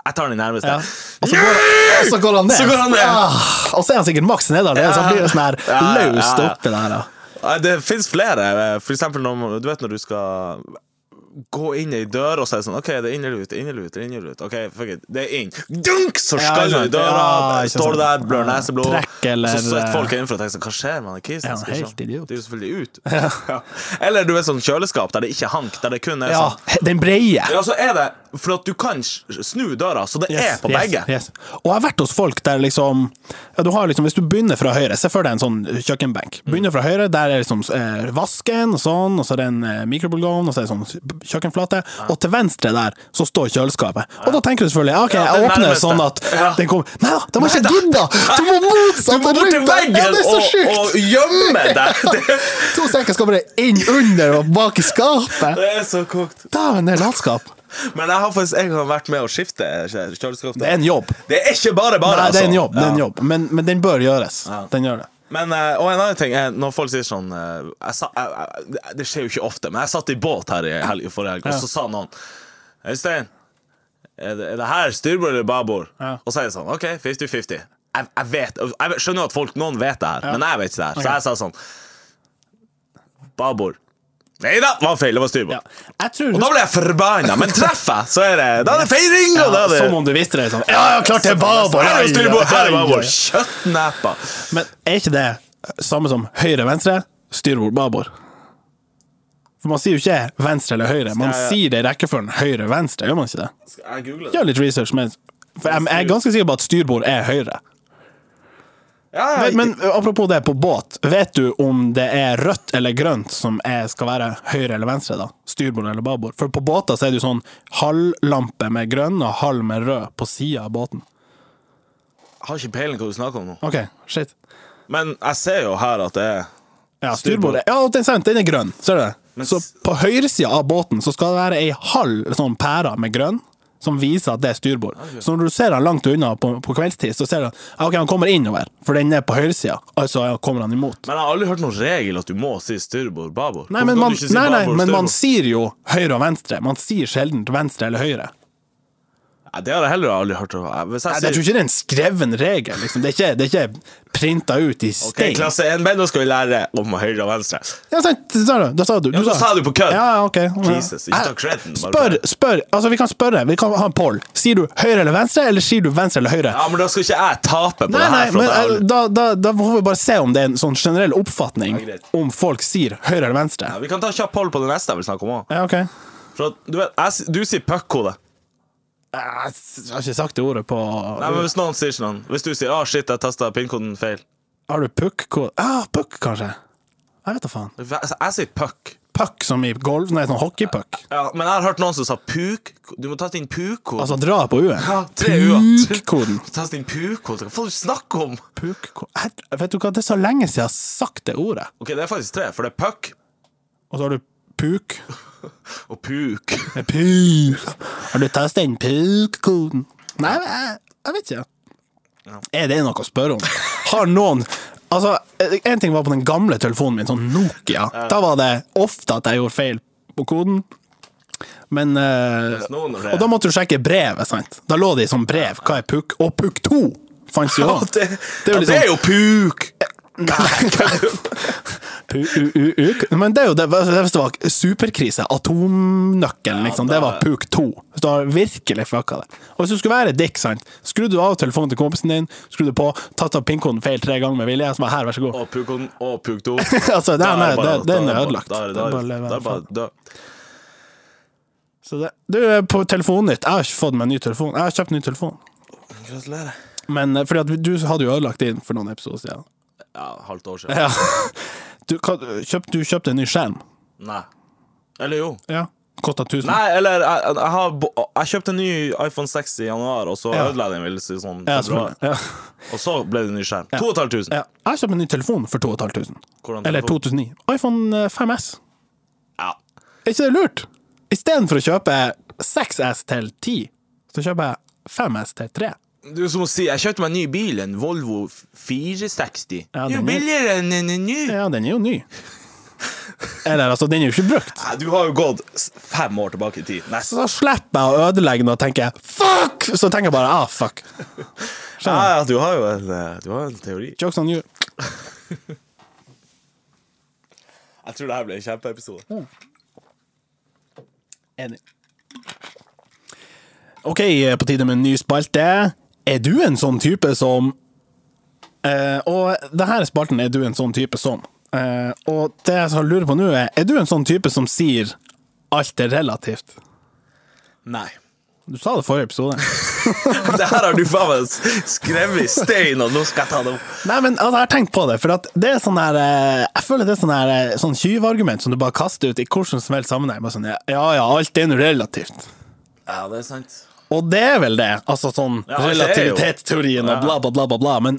Speaker 1: Jeg tar den nærmeste.
Speaker 2: Ja. Og så går, og så går han ned.
Speaker 1: Så går han ned.
Speaker 2: Ah, og så er han sikkkt maks nede allerede, så han blir jo sånn her
Speaker 1: Ja, ja, ja.
Speaker 2: løst oppi der. da.
Speaker 1: Nei, Det fins flere. eh, For eksempel når, du vet når du skal gå inn ei dør, og så er det sånn OK, det er inn eller ut, inn eller ut, inn eller ut. OK, fuck it, det er inn. Dunk! Så
Speaker 2: Ja,
Speaker 1: skal
Speaker 2: ikke
Speaker 1: du i
Speaker 2: sant.
Speaker 1: døra,
Speaker 2: Ja, ikke
Speaker 1: står du der,
Speaker 2: sant.
Speaker 1: blør
Speaker 2: Ja.
Speaker 1: neseblod,
Speaker 2: Trekk eller-
Speaker 1: så sitter folk innenfor og tenker sånn Hva skjer med han kisen?
Speaker 2: Ja,
Speaker 1: Skal vi se.
Speaker 2: helt idiot.
Speaker 1: Det er jo selvfølgelig
Speaker 2: (laughs)
Speaker 1: ut. Ja. Eller du vet sånn kjøleskap der det ikke er hank, der det kun er
Speaker 2: Ja,
Speaker 1: sånn
Speaker 2: den breie.
Speaker 1: Ja, så er det For at du kan s- snu døra, så det er på begge.
Speaker 2: Yes. Og jeg har vært hos folk der liksom, ja, du har liksom Hvis du begynner fra høyre, se for deg en sånn
Speaker 1: Mm.
Speaker 2: kjøkkenbenk. Begynner fra høyre, der er liksom eh, vasken og sånn, og så er det en eh, mikrobølgeovn, og så er det sånn kjøkkenflate, og til venstre der så står kjøleskapet. Og da tenker du selvfølgelig OK,
Speaker 1: Ja,
Speaker 2: jeg
Speaker 1: det
Speaker 2: åpner
Speaker 1: nærmeste.
Speaker 2: sånn at
Speaker 1: Ja.
Speaker 2: den kommer Nei da, den var
Speaker 1: Nei
Speaker 2: ikke
Speaker 1: da.
Speaker 2: gidda! Du må
Speaker 1: (laughs) Du
Speaker 2: motsatt
Speaker 1: må bort til
Speaker 2: rundt der. Ja,
Speaker 1: veggen
Speaker 2: det er så
Speaker 1: og, og
Speaker 2: sjukt!
Speaker 1: gjemme deg! (laughs) Det,
Speaker 2: To sekker skal bare inn under og bak i skapet.
Speaker 1: det er så kokt.
Speaker 2: Dæven, det er latskap.
Speaker 1: Men jeg har faktisk en gang vært med å skifte kjøleskap.
Speaker 2: Det er en jobb.
Speaker 1: Det er ikke bare bare,
Speaker 2: Nei, det er en
Speaker 1: altså.
Speaker 2: jobb, det er en
Speaker 1: Ja.
Speaker 2: jobb. Men, men den bør gjøres. Den gjør det.
Speaker 1: Men, eh, og en annen ting er når folk sier sånn eh, jeg sa, jeg, jeg, Det skjer jo ikke ofte, men jeg satt i båt her i helg, forrige helg, og så sa noen Øystein, er det, er det her styrbord eller babord?
Speaker 2: Ja.
Speaker 1: Og så er det sånn OK, 50-50. Jeg, jeg vet Jeg skjønner at folk, noen vet det her, men jeg vet ikke det her. Så jeg sa sånn Babord. Nei da, var feil. Det var styrbord.
Speaker 2: Ja. Jeg tror
Speaker 1: Og da ble jeg forbanna, men treffer jeg, så er det Da er det feiring! Og da er det
Speaker 2: Som om du visste det. Sånn. Ja, ja, klart det er babord!
Speaker 1: Her
Speaker 2: ja,
Speaker 1: er
Speaker 2: ja,
Speaker 1: styrbord, her er
Speaker 2: ja, ja.
Speaker 1: babord. Kjøttneppa.
Speaker 2: Men er ikke det samme som høyre-venstre, styrbord-babord? For man sier jo ikke venstre eller høyre, man
Speaker 1: Skal jeg-
Speaker 2: sier det i rekkefølgen høyre-venstre, gjør man ikke det?
Speaker 1: Skal jeg google
Speaker 2: Gjør litt research, men for jeg, jeg er ganske sikker på at styrbord er høyre.
Speaker 1: Ja, ja,
Speaker 2: Men, men apropos det på båt, vet du om det er rødt eller grønt som er, skal være høyre eller venstre, da? Styrbord eller babord? For på båter så er det jo sånn halvlampe med grønn og halv med rød på sida av båten.
Speaker 1: Jeg har ikke peiling hva du snakker om nå.
Speaker 2: OK, shit.
Speaker 1: Men jeg ser jo her at det er
Speaker 2: Ja, styrbordet. Ja, det er sant, den er grønn. Ser du det?
Speaker 1: Men
Speaker 2: så
Speaker 1: s-
Speaker 2: på høyresida av båten så skal det være ei halv sånn pære med grønn, som viser at det er styrbord. Så når du ser han langt unna på, på kveldstid, så ser du at ja, ok, han kommer innover, for den er på høyresida. Altså ja, kommer han imot.
Speaker 1: Men jeg har aldri hørt noen regel at du må si styrbord, babord.
Speaker 2: Nei,
Speaker 1: Hvorfor
Speaker 2: men
Speaker 1: kan
Speaker 2: man,
Speaker 1: du ikke si
Speaker 2: nei, nei,
Speaker 1: babord,
Speaker 2: men man
Speaker 1: styrbord?
Speaker 2: sier jo høyre og venstre. Man sier sjelden venstre eller høyre.
Speaker 1: Nei, Det har jeg heller aldri hørt. Jeg- Hvis jeg
Speaker 2: Nei, jeg
Speaker 1: sier
Speaker 2: tror ikke det er en skreven regel. Liksom. Det, er ikke, det er ikke printa ut i
Speaker 1: Ok,
Speaker 2: stein.
Speaker 1: klasse 1B, nå skal vi lære om høyre og venstre.
Speaker 2: Ja, sant, det sa du. Da sa du,
Speaker 1: Ja, da sa du på kødd.
Speaker 2: Ja, ja, ok. Ja.
Speaker 1: Jesus, ikke ta creden, bare
Speaker 2: Spør, spør. Altså, vi kan spørre. Vi kan ha en poll. Sier du høyre eller venstre, eller sier du venstre eller høyre?
Speaker 1: Ja, men da skal ikke jeg tape på
Speaker 2: Nei,
Speaker 1: det
Speaker 2: nei,
Speaker 1: her. for at
Speaker 2: men
Speaker 1: jeg
Speaker 2: eh,
Speaker 1: aldri-
Speaker 2: da, da, da får vi bare se om det er en sånn generell oppfatning
Speaker 1: Ja, greit.
Speaker 2: om folk sier høyre eller venstre.
Speaker 1: Ja, vi kan ta kjapp hold på det neste jeg vil snakke om òg.
Speaker 2: Ja, ok.
Speaker 1: Du, vet, jeg s- du sier puckhode.
Speaker 2: Jeg s- har ikke sagt det ordet på
Speaker 1: Nei, men Hvis noen sier sånn Hvis du sier 'Å, shit, jeg testa pinnkoden feil'
Speaker 2: Har du puck? Hvor- Ah, puck, kanskje? Jeg vet da faen.
Speaker 1: Jeg, jeg sier puck.
Speaker 2: Puck som i golf? Nei, sånn hockeypuck.
Speaker 1: Ja, men jeg har hørt noen som sa puk. Du må taste inn puk-koden.
Speaker 2: Altså dra på U-en.
Speaker 1: Ja, tre u-er.
Speaker 2: Puk-koden.
Speaker 1: Taste inn puk-koden. Hva faen du snakker om?
Speaker 2: Puck-koden. Jeg- Vet du hva, det er så lenge siden jeg har sagt det ordet.
Speaker 1: Ok, det er faktisk tre, for det er puck
Speaker 2: Og så har du puk.
Speaker 1: og puk.
Speaker 2: Med puk. Har du testet inn puk-koden? Nei, jeg, jeg vet ikke. Er det noe å spørre om? Har noen Altså, en ting var på den gamle telefonen min, sånn Nokia. Da var det ofte at jeg gjorde feil på koden. Men eh,
Speaker 1: noen av det.
Speaker 2: Og da måtte du sjekke brevet, sant? Da lå det i sånn brev. Hva er puk? Og puk 2 fantes jo òg.
Speaker 1: det,
Speaker 2: er jo liksom-
Speaker 1: ja,
Speaker 2: litt
Speaker 1: det
Speaker 2: sånn-
Speaker 1: er jo puk!
Speaker 2: (laughs) Men det er jo det, hvis det var superkrise, atomnøkkelen, liksom,
Speaker 1: da-
Speaker 2: det var puk 2. Hvis du har virkelig fucka det. Og hvis du skulle være dick, sant, skrudde du av telefonen til kompisen din, skrudde på, tatt av pinkoden feil tre ganger med vilje, som var her, vær så god.
Speaker 1: Og puk-koden og
Speaker 2: (laughs)
Speaker 1: puk-to.
Speaker 2: Altså, det,
Speaker 1: Da
Speaker 2: nei,
Speaker 1: er
Speaker 2: det,
Speaker 1: bare-
Speaker 2: den
Speaker 1: da
Speaker 2: er
Speaker 1: bare-
Speaker 2: ødelagt.
Speaker 1: Da er det
Speaker 2: Det er bare å
Speaker 1: da
Speaker 2: leve
Speaker 1: er det bare
Speaker 2: faen.
Speaker 1: død.
Speaker 2: Så det, du, på telefonen ditt, jeg har ikke fått meg ny telefon. Jeg har kjøpt ny telefon.
Speaker 1: Gratulerer.
Speaker 2: Men eh, fordi at du hadde jo ødelagt din for noen episoder siden.
Speaker 1: Ja, halvt år siden.
Speaker 2: Ja. (laughs) Du, hva- kjøpt, du kjøpte en ny skjerm.
Speaker 1: Nei. Eller jo.
Speaker 2: Ja. Kosta 1000.
Speaker 1: Nei, eller jeg, jeg, jeg, har, bo- jeg kjøpte en ny iPhone 6 i januar, og så
Speaker 2: Ja.
Speaker 1: ødela jeg den vel i sånn
Speaker 2: Ja,
Speaker 1: februar.
Speaker 2: selvfølgelig. Ja.
Speaker 1: Og så ble det en ny skjerm. 2500.
Speaker 2: Ja. Jeg har kjøpt en ny telefon for 2500.
Speaker 1: Hvordan
Speaker 2: Eller
Speaker 1: telefon?
Speaker 2: 2009. iPhone 5S.
Speaker 1: Ja.
Speaker 2: Er ikke det lurt? Istedenfor å kjøpe 6S til 10, så kjøper jeg 5S til 3.
Speaker 1: Du som å si, jeg kjøpte meg en ny bil, en Volvo 460.
Speaker 2: Ja,
Speaker 1: det er
Speaker 2: den
Speaker 1: jo
Speaker 2: er-
Speaker 1: billigere enn en en ny.
Speaker 2: Ja, den er jo ny. Eller altså, den er jo ikke brukt.
Speaker 1: Nei, Du har jo gått s- fem år tilbake i tid. Nesten.
Speaker 2: Så slipper jeg å ødelegge den og tenke fuck! Så tenker jeg bare ah, fuck.
Speaker 1: Ja, ja, du har jo en, eh, du har en teori.
Speaker 2: Jokes on you.
Speaker 1: Jeg tror det her ble en kjempeepisode.
Speaker 2: Enig. OK, eh, på tide med en ny spalte. Er du en sånn type som eh, Og denne spalten er du en sånn type som. Eh, og det jeg så lurer på nå, er Er du en sånn type som sier alt er relativt?
Speaker 1: Nei. (laughs)
Speaker 2: Du sa det forrige episode.
Speaker 1: det her har du faen meg skrevet i stein, og nå skal jeg ta det opp.
Speaker 2: Nei, men altså, jeg har tenkt på det, for at det er sånn her eh, Jeg føler det er sånn her eh, sånn tjuvargument som du bare kaster ut i hvordan som helst sammenheng. Bare sånn, ja, ja, alt er nå relativt.
Speaker 1: Ja, det er sant.
Speaker 2: Og det er vel det. Altså sånn
Speaker 1: Ja, det er jo.
Speaker 2: relativitetsteorien og bla, bla, bla, bla, bla. Men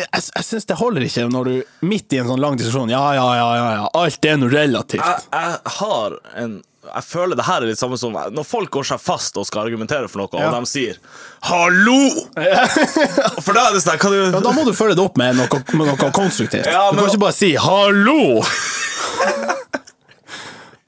Speaker 2: jeg, jeg syns det holder ikke når du midt i en sånn lang diskusjon Ja, ja, ja, ja, ja. alt er nå relativt.
Speaker 1: Jeg, jeg har en Jeg føler det her er litt samme som når folk går seg fast og skal argumentere for noe,
Speaker 2: Ja.
Speaker 1: og de sier 'hallo'! For da er det sånn Kan du
Speaker 2: Da må du følge det opp med noe, med noe konstruktivt.
Speaker 1: Ja,
Speaker 2: du
Speaker 1: men-
Speaker 2: kan ikke bare si
Speaker 1: (laughs)
Speaker 2: 'hallo'!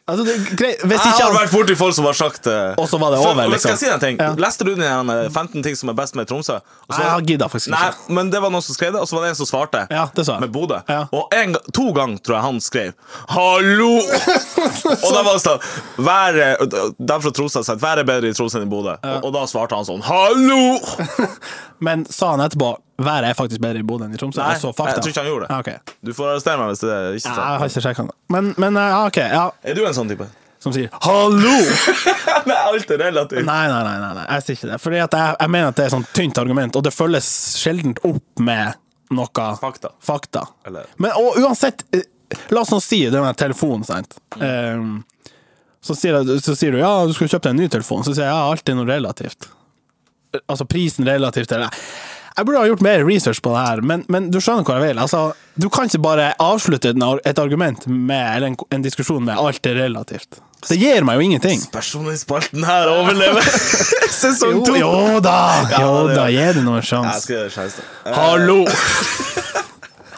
Speaker 2: altså, det er greit Hvis
Speaker 1: Jeg
Speaker 2: ikke
Speaker 1: har
Speaker 2: han-
Speaker 1: vært borti folk som har sagt det.
Speaker 2: Og så var det
Speaker 1: For-
Speaker 2: over,
Speaker 1: men Skal
Speaker 2: liksom.
Speaker 1: jeg si deg en ting?
Speaker 2: Ja.
Speaker 1: Leste du den her, eh, 15 ting som er best med Tromsø? Og så-
Speaker 2: Nei, jeg gidder faktisk ikke.
Speaker 1: Nei, men det var noen som skrev det, og så var det en som svarte.
Speaker 2: Ja, det sa jeg.
Speaker 1: Med Bodø.
Speaker 2: Ja.
Speaker 1: Og en, ga- to ganger tror jeg han skrev 'hallo'! og da var det sånn vær, eh, De fra Tromsø har sagt 'vær er bedre i Tromsø enn i Bodø', og, og da svarte han sånn 'hallo'!
Speaker 2: Men sa han etterpå været er faktisk bedre i Bodø enn i Tromsø?
Speaker 1: Nei,
Speaker 2: jeg, så fakta.
Speaker 1: jeg tror ikke han gjorde det.
Speaker 2: Ja, ok.
Speaker 1: Du får arrestere meg hvis det er ikke
Speaker 2: Ja,
Speaker 1: sant.
Speaker 2: Jeg har ikke sjekka det. Men, men ja, OK. Ja.
Speaker 1: Er du en sånn type? (laughs)
Speaker 2: Som sier 'hallo'!
Speaker 1: Nei, alt er relativt.
Speaker 2: Nei, nei, nei, nei, nei, jeg sier ikke det. Fordi at jeg, jeg mener at det er et sånt tynt argument, og det følges sjelden opp med noe
Speaker 1: Fakta.
Speaker 2: fakta.
Speaker 1: Eller-
Speaker 2: Men og uansett, eh, la oss nå si det med telefonen, sant.
Speaker 1: Mm.
Speaker 2: Ehm, så, sier jeg, så sier du ja, du skulle kjøpt deg en ny telefon, så sier jeg ja, alt er noe relativt. Altså prisen relativt til det. Jeg burde ha gjort mer research på det her, men, men du skjønner hva jeg vil. Altså, du kan ikke bare avslutte en- et argument med, eller en, en diskusjon med alt er relativt. Det gir meg jo ingenting.
Speaker 1: Personlig spalten her overlever (laughs) sesong to!
Speaker 2: Jo, jo (laughs) da,
Speaker 1: Ja,
Speaker 2: jo
Speaker 1: det
Speaker 2: da,
Speaker 1: gjør
Speaker 2: gi det noen
Speaker 1: Jeg
Speaker 2: sjanse.
Speaker 1: skal gjøre det sjølst.
Speaker 2: (laughs) Hallo!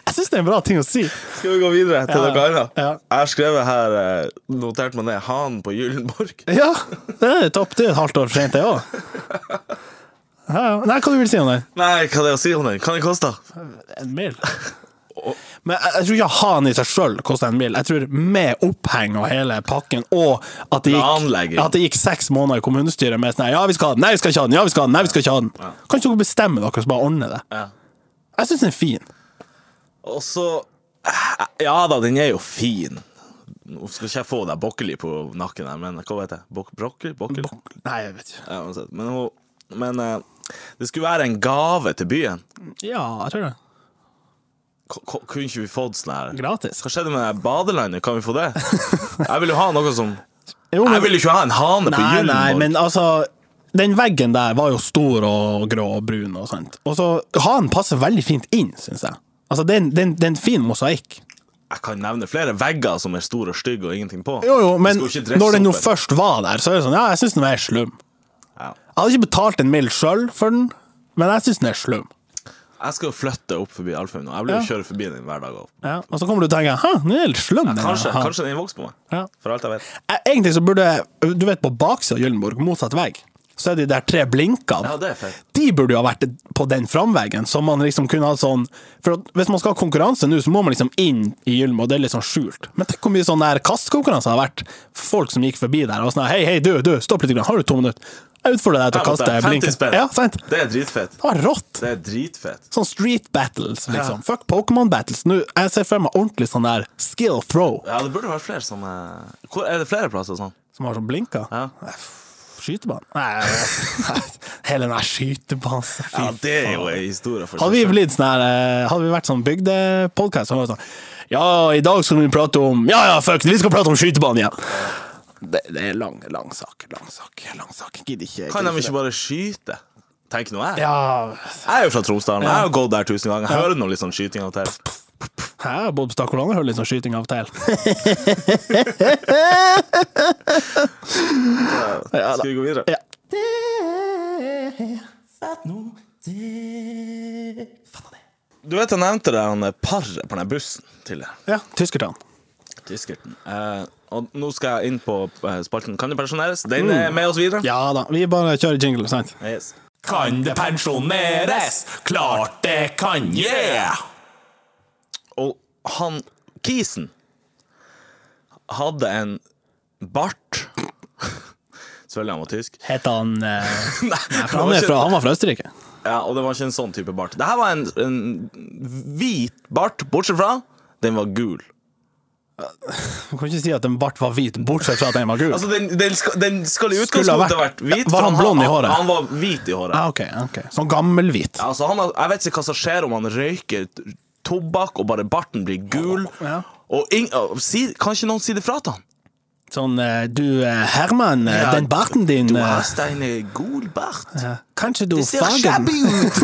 Speaker 2: Jeg syns det er en bra ting å si.
Speaker 1: Skal vi gå videre til
Speaker 2: Ja,
Speaker 1: noe annet?
Speaker 2: ja.
Speaker 1: Jeg har skrevet her eh, Notert meg ned Hanen på Gyllenborg. (laughs)
Speaker 2: Ja, det er topp. Det er et halvt år for sent, det òg. Ja, ja. Nei, hva du vil si om det?
Speaker 1: Nei, hva er det å si om den? Hva den koster?
Speaker 2: En mil. Men jeg, jeg tror ikke han i seg sjøl kosta en mil. Jeg tror med oppheng og hele pakken, og at det gikk,
Speaker 1: Planlegging.
Speaker 2: at det gikk seks måneder i kommunestyret med sånn her, Ja, vi skal ha den! Nei, vi skal ikke ha den! Ja, vi skal ha den! Nei, vi skal ikke ha den! Kan ikke dere bestemme dere og så bare ordne det?
Speaker 1: Ja.
Speaker 2: Jeg syns den er fin.
Speaker 1: Og så eh, Ja da, den er jo fin. Nå skal ikke jeg få deg Bokkeli på nakken her, men hva heter det? Bok brokkeli? Bokkeli?
Speaker 2: Nei, jeg vet ikke.
Speaker 1: Ja, uansett. Men, hun- men eh, det skulle være en gave til byen.
Speaker 2: Ja, jeg tror det.
Speaker 1: K k- kunne ikke vi fått sånn her?
Speaker 2: Gratis.
Speaker 1: Hva skjedde med det her badelandet? Kan vi få
Speaker 2: (laughs)
Speaker 1: det? Jeg vil jo ha noe som
Speaker 2: Jo, men-
Speaker 1: Jeg vil jo ikke ha en hane på
Speaker 2: Nei, nei,
Speaker 1: Gyllenborg.
Speaker 2: men altså Den veggen der var jo stor og grå og brun og sånt. Og så Hanen passer veldig fint inn, syns jeg. Altså, det er en- det er en- det er en fin mosaikk.
Speaker 1: Jeg kan nevne flere vegger som er store og stygge og ingenting på.
Speaker 2: Jo, jo,
Speaker 1: Vi
Speaker 2: men
Speaker 1: skal ikke dresse
Speaker 2: når den nå
Speaker 1: opp en-
Speaker 2: først var der, så er det sånn Ja, jeg syns den er slum.
Speaker 1: Ja.
Speaker 2: Jeg hadde ikke betalt en mill sjøl for den, men jeg syns den er slum.
Speaker 1: Jeg skal jo flytte opp forbi Alfheim nå. Jeg blir jo
Speaker 2: Ja.
Speaker 1: kjøre forbi den hver dag. og-
Speaker 2: Ja. Og så kommer du og tenker Hæ, den er litt slum. den her
Speaker 1: Kanskje,
Speaker 2: hanen."
Speaker 1: kanskje den vokser på meg.
Speaker 2: Ja.
Speaker 1: For alt jeg vet.
Speaker 2: Eh, Egentlig så burde Du vet, på baksida av Gyllenborg, motsatt vegg, så er de der tre blinkene.
Speaker 1: Ja, det er fett.
Speaker 2: De burde jo ha vært på den framveggen, så man liksom kunne hatt sånn For at hvis man skal ha konkurranse nå, så må man liksom inn i Gyllen, og det er litt sånn skjult. Men tenk hvor mye sånn der kastkonkurranse har vært. Folk som gikk forbi der og sånn Hei, hei, du, du, stopp litt, grann. har du to minutter? Jeg utfordrer deg til å
Speaker 1: Jeg
Speaker 2: kaste
Speaker 1: måtte- 50
Speaker 2: blinken.
Speaker 1: spenn.
Speaker 2: Ja, sant?
Speaker 1: Det er dritfett.
Speaker 2: Det var rått.
Speaker 1: Det er dritfett.
Speaker 2: Sånn street battles, liksom.
Speaker 1: Ja.
Speaker 2: Fuck Pokémon battles. Nå, jeg ser for meg ordentlig sånn der skill throw,
Speaker 1: Ja, det burde vært flere sånne Hvor Er det flere plasser sånn?
Speaker 2: som har sånn blinker.
Speaker 1: Ja.
Speaker 2: Skytebanen? Nei, (laughs) hele den der skytebanen. Fy
Speaker 1: Ja, det er jo en historie for
Speaker 2: Hadde vi blitt sånn her eh, Hadde vi vært sånn bygdepodkast så hadde det vært sånn Ja, i dag skal vi prate om Ja, ja, fuck, vi skal prate om skytebanen igjen! Det, det er lang, lang sak. Lang sak. lang sak Gidder ikke.
Speaker 1: Kan de
Speaker 2: gidder
Speaker 1: ikke bare skyte? Tenk nå jeg.
Speaker 2: Ja
Speaker 1: Jeg er jo fra Tromsdalen. Jeg har jo gått der tusen ganger. Jeg hører noe litt sånn skyting av og til.
Speaker 2: Hæ, Bob Stakkolane hører litt sånn skyting av og til.
Speaker 1: Skal vi gå videre?
Speaker 2: (laughs) Ja.
Speaker 1: Du vet jeg nevnte det han paret på den bussen til deg.
Speaker 2: ja Tyskertann.
Speaker 1: Tyskerten. Eh, og nå skal jeg inn på eh, spalten Kan det pensjoneres? Den er med oss videre.
Speaker 2: Mm. Ja da. Vi bare kjører jingle, sant?
Speaker 1: Yes.
Speaker 3: Kan det pensjoneres? Klart det kan, yeah!
Speaker 1: Og han Kisen hadde en bart. (laughs) Selvfølgelig han var tysk.
Speaker 2: Het han eh,
Speaker 1: Nei,
Speaker 2: for han,
Speaker 1: det var
Speaker 2: er
Speaker 1: ikke-
Speaker 2: fra, han var fra Østerrike.
Speaker 1: Ja, Og det var ikke en sånn type bart. Dette var en, en hvit bart, bortsett fra den var gul.
Speaker 2: Du kan ikke si at den bart var hvit, bortsett fra at den var gul.
Speaker 1: Altså, den, den, skal, den skal i
Speaker 2: Skulle ha
Speaker 1: utgangspunktet
Speaker 2: vært-
Speaker 1: vært hvit.
Speaker 2: Var
Speaker 1: for
Speaker 2: han blond i håret?
Speaker 1: Han, han var hvit i håret.
Speaker 2: ah, ok, ok. Sånn gammelhvit.
Speaker 1: Altså, han, har- jeg vet ikke hva som skjer om han røyker t- tobakk og bare barten blir gul.
Speaker 2: Ja.
Speaker 1: Og ing, og si, kan ikke noen si det fra til han?
Speaker 2: Sånn eh, Du, eh, Herman, eh,
Speaker 1: Ja,
Speaker 2: den barten din
Speaker 1: Du
Speaker 2: eh,
Speaker 1: har steine gul bart.
Speaker 2: ja, Kanskje du
Speaker 1: Det ser shabby
Speaker 2: (laughs) ut!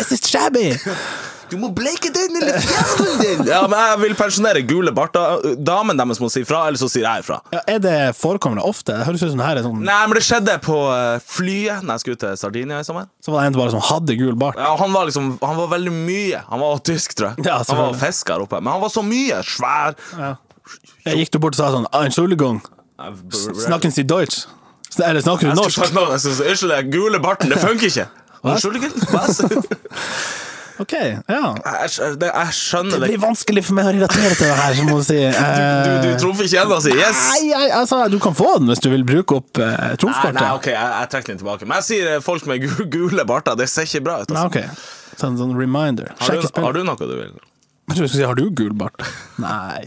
Speaker 2: Jeg ser shabby!
Speaker 1: Du må bleike den eller fjerne den! (laughs) Ja, men jeg vil pensjonere gule barter. Damen deres må si fra, eller så sier jeg ifra.
Speaker 2: Ja, er det forekommende ofte? Det høres ut som det her er sånn
Speaker 1: Nei, men det skjedde på eh, flyet Når jeg skulle til Sardinia i sommer.
Speaker 2: Så var det en som bare sånn hadde gul bart.
Speaker 1: Ja, han var liksom Han var veldig mye. Han var tysk, tror jeg.
Speaker 2: Ja,
Speaker 1: han var
Speaker 2: selvfølgelig.
Speaker 1: fisker oppe. Men han var så mye. Svær.
Speaker 2: Jeg gikk du bort og sa sånn ah, Entschuldigung, snakken Sie Deutsch? Så- Eller snakker du
Speaker 1: Jeg skulle
Speaker 2: norsk?
Speaker 1: sagt noe, jeg skulle si, Unnskyld, den gule barten, det
Speaker 2: (laughs)
Speaker 1: funker ikke. Unnskyld, ikke? Hva sa du?
Speaker 2: Ok, ja.
Speaker 1: Jeg skj- det- jeg skjønner
Speaker 2: Det
Speaker 1: det.
Speaker 2: blir vanskelig for meg å relatere til det her, som (laughs) hun sier.
Speaker 1: Du, du
Speaker 2: Eh,
Speaker 1: trumfer ikke ennå, si. Yes!
Speaker 2: Nei, nei, altså, du kan få den hvis du vil bruke opp uh,
Speaker 1: Nei,
Speaker 2: trumfkortet.
Speaker 1: nei, ok, jeg, jeg trekker den tilbake. Men jeg sier eh, folk med gu- gule barter, det ser ikke bra ut.
Speaker 2: Nei,
Speaker 1: Altså.
Speaker 2: ok. Sånn, sånn reminder.
Speaker 1: Har,
Speaker 2: Sjekk i
Speaker 1: du, har
Speaker 2: spillet.
Speaker 1: du noe du vil?
Speaker 2: Jeg tror du skulle si har du gul bart? (laughs) Nei.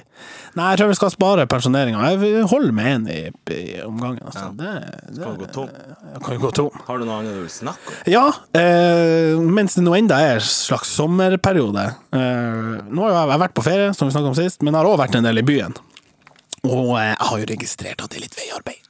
Speaker 2: Nei, jeg tror vi skal spare pensjoneringa. Jeg vil- holder med én i, i omgangen. Altså. Det, det
Speaker 1: Kan gå tom.
Speaker 2: jeg kan jo gå tom.
Speaker 1: Har du noe annet du vil snakke om?
Speaker 2: Ja, eh, mens det nå enda er en slags sommerperiode. Eh, nå har jeg, jeg har vært på ferie, som vi snakket om sist, men jeg har òg vært en del i byen. Og eh, jeg har jo registrert at det er litt veiarbeid.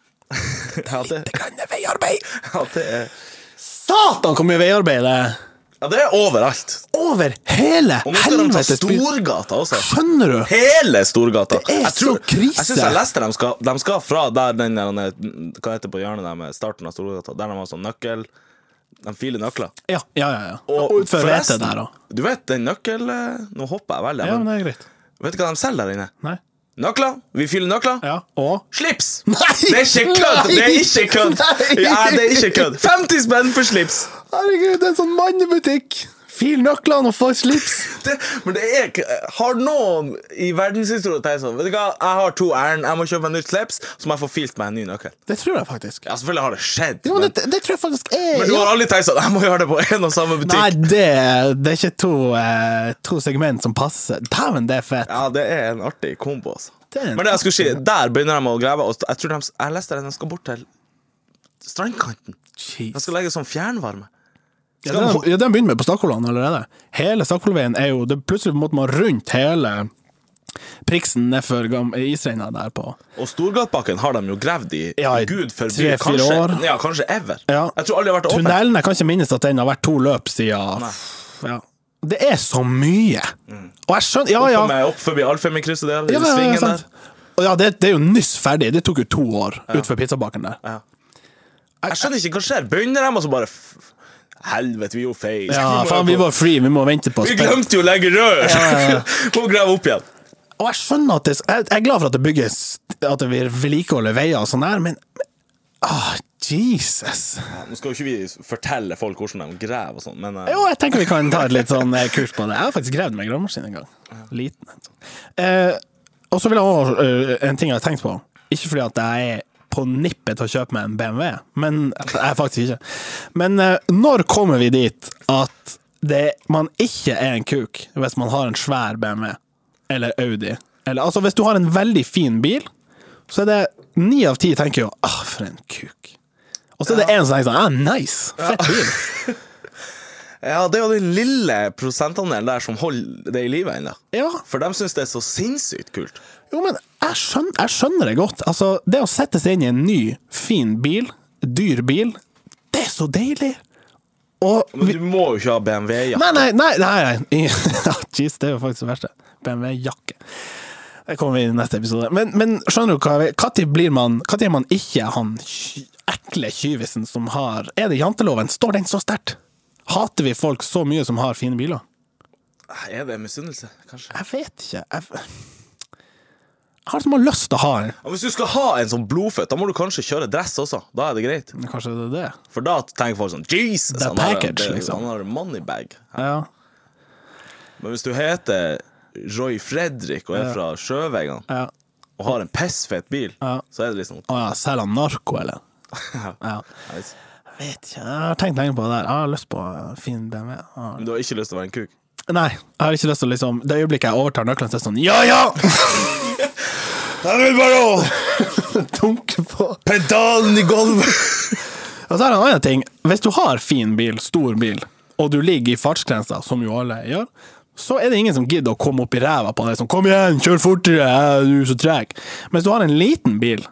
Speaker 1: Ja, det,
Speaker 2: Det kan være veiarbeid!
Speaker 1: ja, det, er,
Speaker 2: Satan, hvor mye veiarbeid det er!
Speaker 1: ja, det er overalt.
Speaker 2: Over hele
Speaker 1: Og nå skal de ta
Speaker 2: helvetes by!
Speaker 1: Storgata også.
Speaker 2: Skjønner du?
Speaker 1: Hele Storgata.
Speaker 2: Det er
Speaker 1: Jeg tror-
Speaker 2: så krise.
Speaker 1: Jeg syns jeg leste de skal, de skal fra der den der, Hva heter det på hjørnet der med starten av Storgata? Der de har sånn nøkkel De filer nøkler.
Speaker 2: Ja, ja, ja. ja. Og utfor hvete
Speaker 1: forresten,
Speaker 2: der òg.
Speaker 1: Du vet den nøkkel eh, Nå hopper jeg veldig.
Speaker 2: Ja, men
Speaker 1: men
Speaker 2: det er greit.
Speaker 1: vet du hva de selger der inne?
Speaker 2: Nei.
Speaker 1: Nøkler. Vi fyller nøkler.
Speaker 2: Ja, og
Speaker 1: Slips!
Speaker 2: Nei!
Speaker 1: Det er ikke kødd! Det er ikke kødd!
Speaker 2: Nei!
Speaker 1: Ja, det er ikke kødd. 50 spenn for slips!
Speaker 2: Herregud, det er en sånn mannebutikk! Fil nøklene og få slips!
Speaker 1: Det, men det er ikke Har noen i verdenshistorien tenkt sånn Vet du hva, jeg har to ærend. Jeg må kjøpe meg nytt slips, så må jeg få filt meg en ny nøkkel.
Speaker 2: Det tror jeg faktisk.
Speaker 1: Ja, selvfølgelig har det skjedd.
Speaker 2: Jo, men det, det tror jeg faktisk er
Speaker 1: Men du har aldri tenkt sånn Jeg må gjøre det på én og samme
Speaker 2: Nei,
Speaker 1: butikk.
Speaker 2: det, det er ikke to, eh, to segment som passer. Dæven, det er fett!
Speaker 1: Ja, det er en artig kombo, altså.
Speaker 2: Det er en
Speaker 1: Men det jeg skulle si, der begynner de å grave. Og jeg tror de, jeg leste det, de skal bort til strandkanten. De
Speaker 2: Jeez.
Speaker 1: skal legge sånn fjernvarme.
Speaker 2: Ja, den, ja, den begynner med på Stakkolland allerede. Hele Stakkolveien er jo det er Plutselig måtte man rundt hele priksen nedfor gam- isrenna der på.
Speaker 1: Og Storgatbakken har de jo gravd i
Speaker 2: Ja, i
Speaker 1: gud forby
Speaker 2: tre-fire
Speaker 1: kanskje,
Speaker 2: år.
Speaker 1: Ja, kanskje ever.
Speaker 2: Ja.
Speaker 1: Jeg tror aldri det har vært åpen.
Speaker 2: Tunnelen, jeg kan ikke minnes at den har vært to løp siden ja. Det er så mye! Og jeg skjønner Ja, ja.
Speaker 1: Mm. Oppe med- Opp forbi Alfheimkrysset der, i
Speaker 2: Ja, ja, ja,
Speaker 1: svingen
Speaker 2: sant.
Speaker 1: der.
Speaker 2: Og ja, det, det er jo nyss ferdig. Det tok jo to år utenfor pizzabakeren der.
Speaker 1: Jeg skjønner ikke hva skjer. Begynner de, og så bare f- Helvete, vi gjorde feil.
Speaker 2: Ja,
Speaker 1: må
Speaker 2: faen,
Speaker 1: jo
Speaker 2: vi
Speaker 1: på-
Speaker 2: var free, vi må vente på
Speaker 1: vi
Speaker 2: spenn.
Speaker 1: glemte jo å legge rør!
Speaker 2: ja,
Speaker 1: (laughs)
Speaker 2: ja.
Speaker 1: Må grave opp igjen.
Speaker 2: Og jeg skjønner at det, jeg, jeg er glad for at det bygges At det blir vedlikeholdet veier og sånn der, men ah, Jesus.
Speaker 1: Nå skal jo ikke vi fortelle folk hvordan de graver og sånn, men eh,
Speaker 2: Jo, jeg tenker vi kan ta et litt sånn eh, kurs på det. Jeg har faktisk gravd med gravemaskin en gang. Liten. en sånn. Eh, og så vil jeg også, eh, en ting jeg har tenkt på. Ikke fordi at jeg er på nippet til å kjøpe meg en BMW, men jeg er faktisk ikke. Men eh, når kommer vi dit at det, man ikke er en kuk hvis man har en svær BMW eller Audi? Eller, altså hvis du har en veldig fin bil, så er det ni av ti tenker jo ah, for en kuk. Og så er det én som tenker sånn ah, nice, fett bil.
Speaker 1: ja, det er jo den lille prosentandelen der som holder det i live ennå.
Speaker 2: Ja,
Speaker 1: For de syns det er så sinnssykt kult.
Speaker 2: Jo, men jeg skjønner, jeg skjønner det godt. Altså, det å sette seg inn i en ny, fin bil, dyr bil, det er så deilig! Og
Speaker 1: Men
Speaker 2: vi,
Speaker 1: du må jo ikke ha BMW, ja.
Speaker 2: Nei, nei, nei! nei, nei. (laughs) Ja, Jeez, det er jo faktisk det verste. BMW-jakke. Det kommer vi i neste episode. Men, men skjønner du hva jeg Når blir man Når er man ikke han ky- ekle kyvisen som har Er det janteloven? Står den så sterkt? Hater vi folk så mye som har fine biler?
Speaker 1: Er det misunnelse, kanskje?
Speaker 2: Jeg vet ikke. Jeg, jeg har liksom bare lyst til å ha en.
Speaker 1: Ja, Hvis du skal ha en sånn blodfødt, da må du kanskje kjøre dress også. Da er det greit.
Speaker 2: Kanskje det er det?
Speaker 1: For da tenker folk sånn Jesus!
Speaker 2: er
Speaker 1: han har-
Speaker 2: package,
Speaker 1: det-
Speaker 2: liksom.
Speaker 1: Han har en moneybag.
Speaker 2: Ja.
Speaker 1: Men hvis du heter Roy Fredrik og er fra Sjøvegan
Speaker 2: Ja.
Speaker 1: og har en pissfet bil,
Speaker 2: Ja.
Speaker 1: så er det liksom (laughs)
Speaker 2: Å ja, selger han narko, eller? Ja.
Speaker 1: nice.
Speaker 2: Jeg vet ikke, jeg har tenkt lenge på det der. Jeg har lyst på en fin BMW. Jeg har-
Speaker 1: Men du har ikke lyst til å være en kuk?
Speaker 2: Nei, jeg har ikke lyst til å liksom (laughs) Det øyeblikket jeg overtar nøklene, så er det sånn Ja, ja!
Speaker 1: Jeg vil bare
Speaker 2: (laughs) Dunke på.
Speaker 1: pedalen i gulvet!
Speaker 2: Og så er det en annen ting. Hvis du har fin bil, stor bil, og du ligger i fartsgrensa, som jo alle gjør, så er det ingen som gidder å komme opp i ræva på deg som 'kom igjen, kjør fortere, æ, du er så treg'. Men hvis du har en liten bil,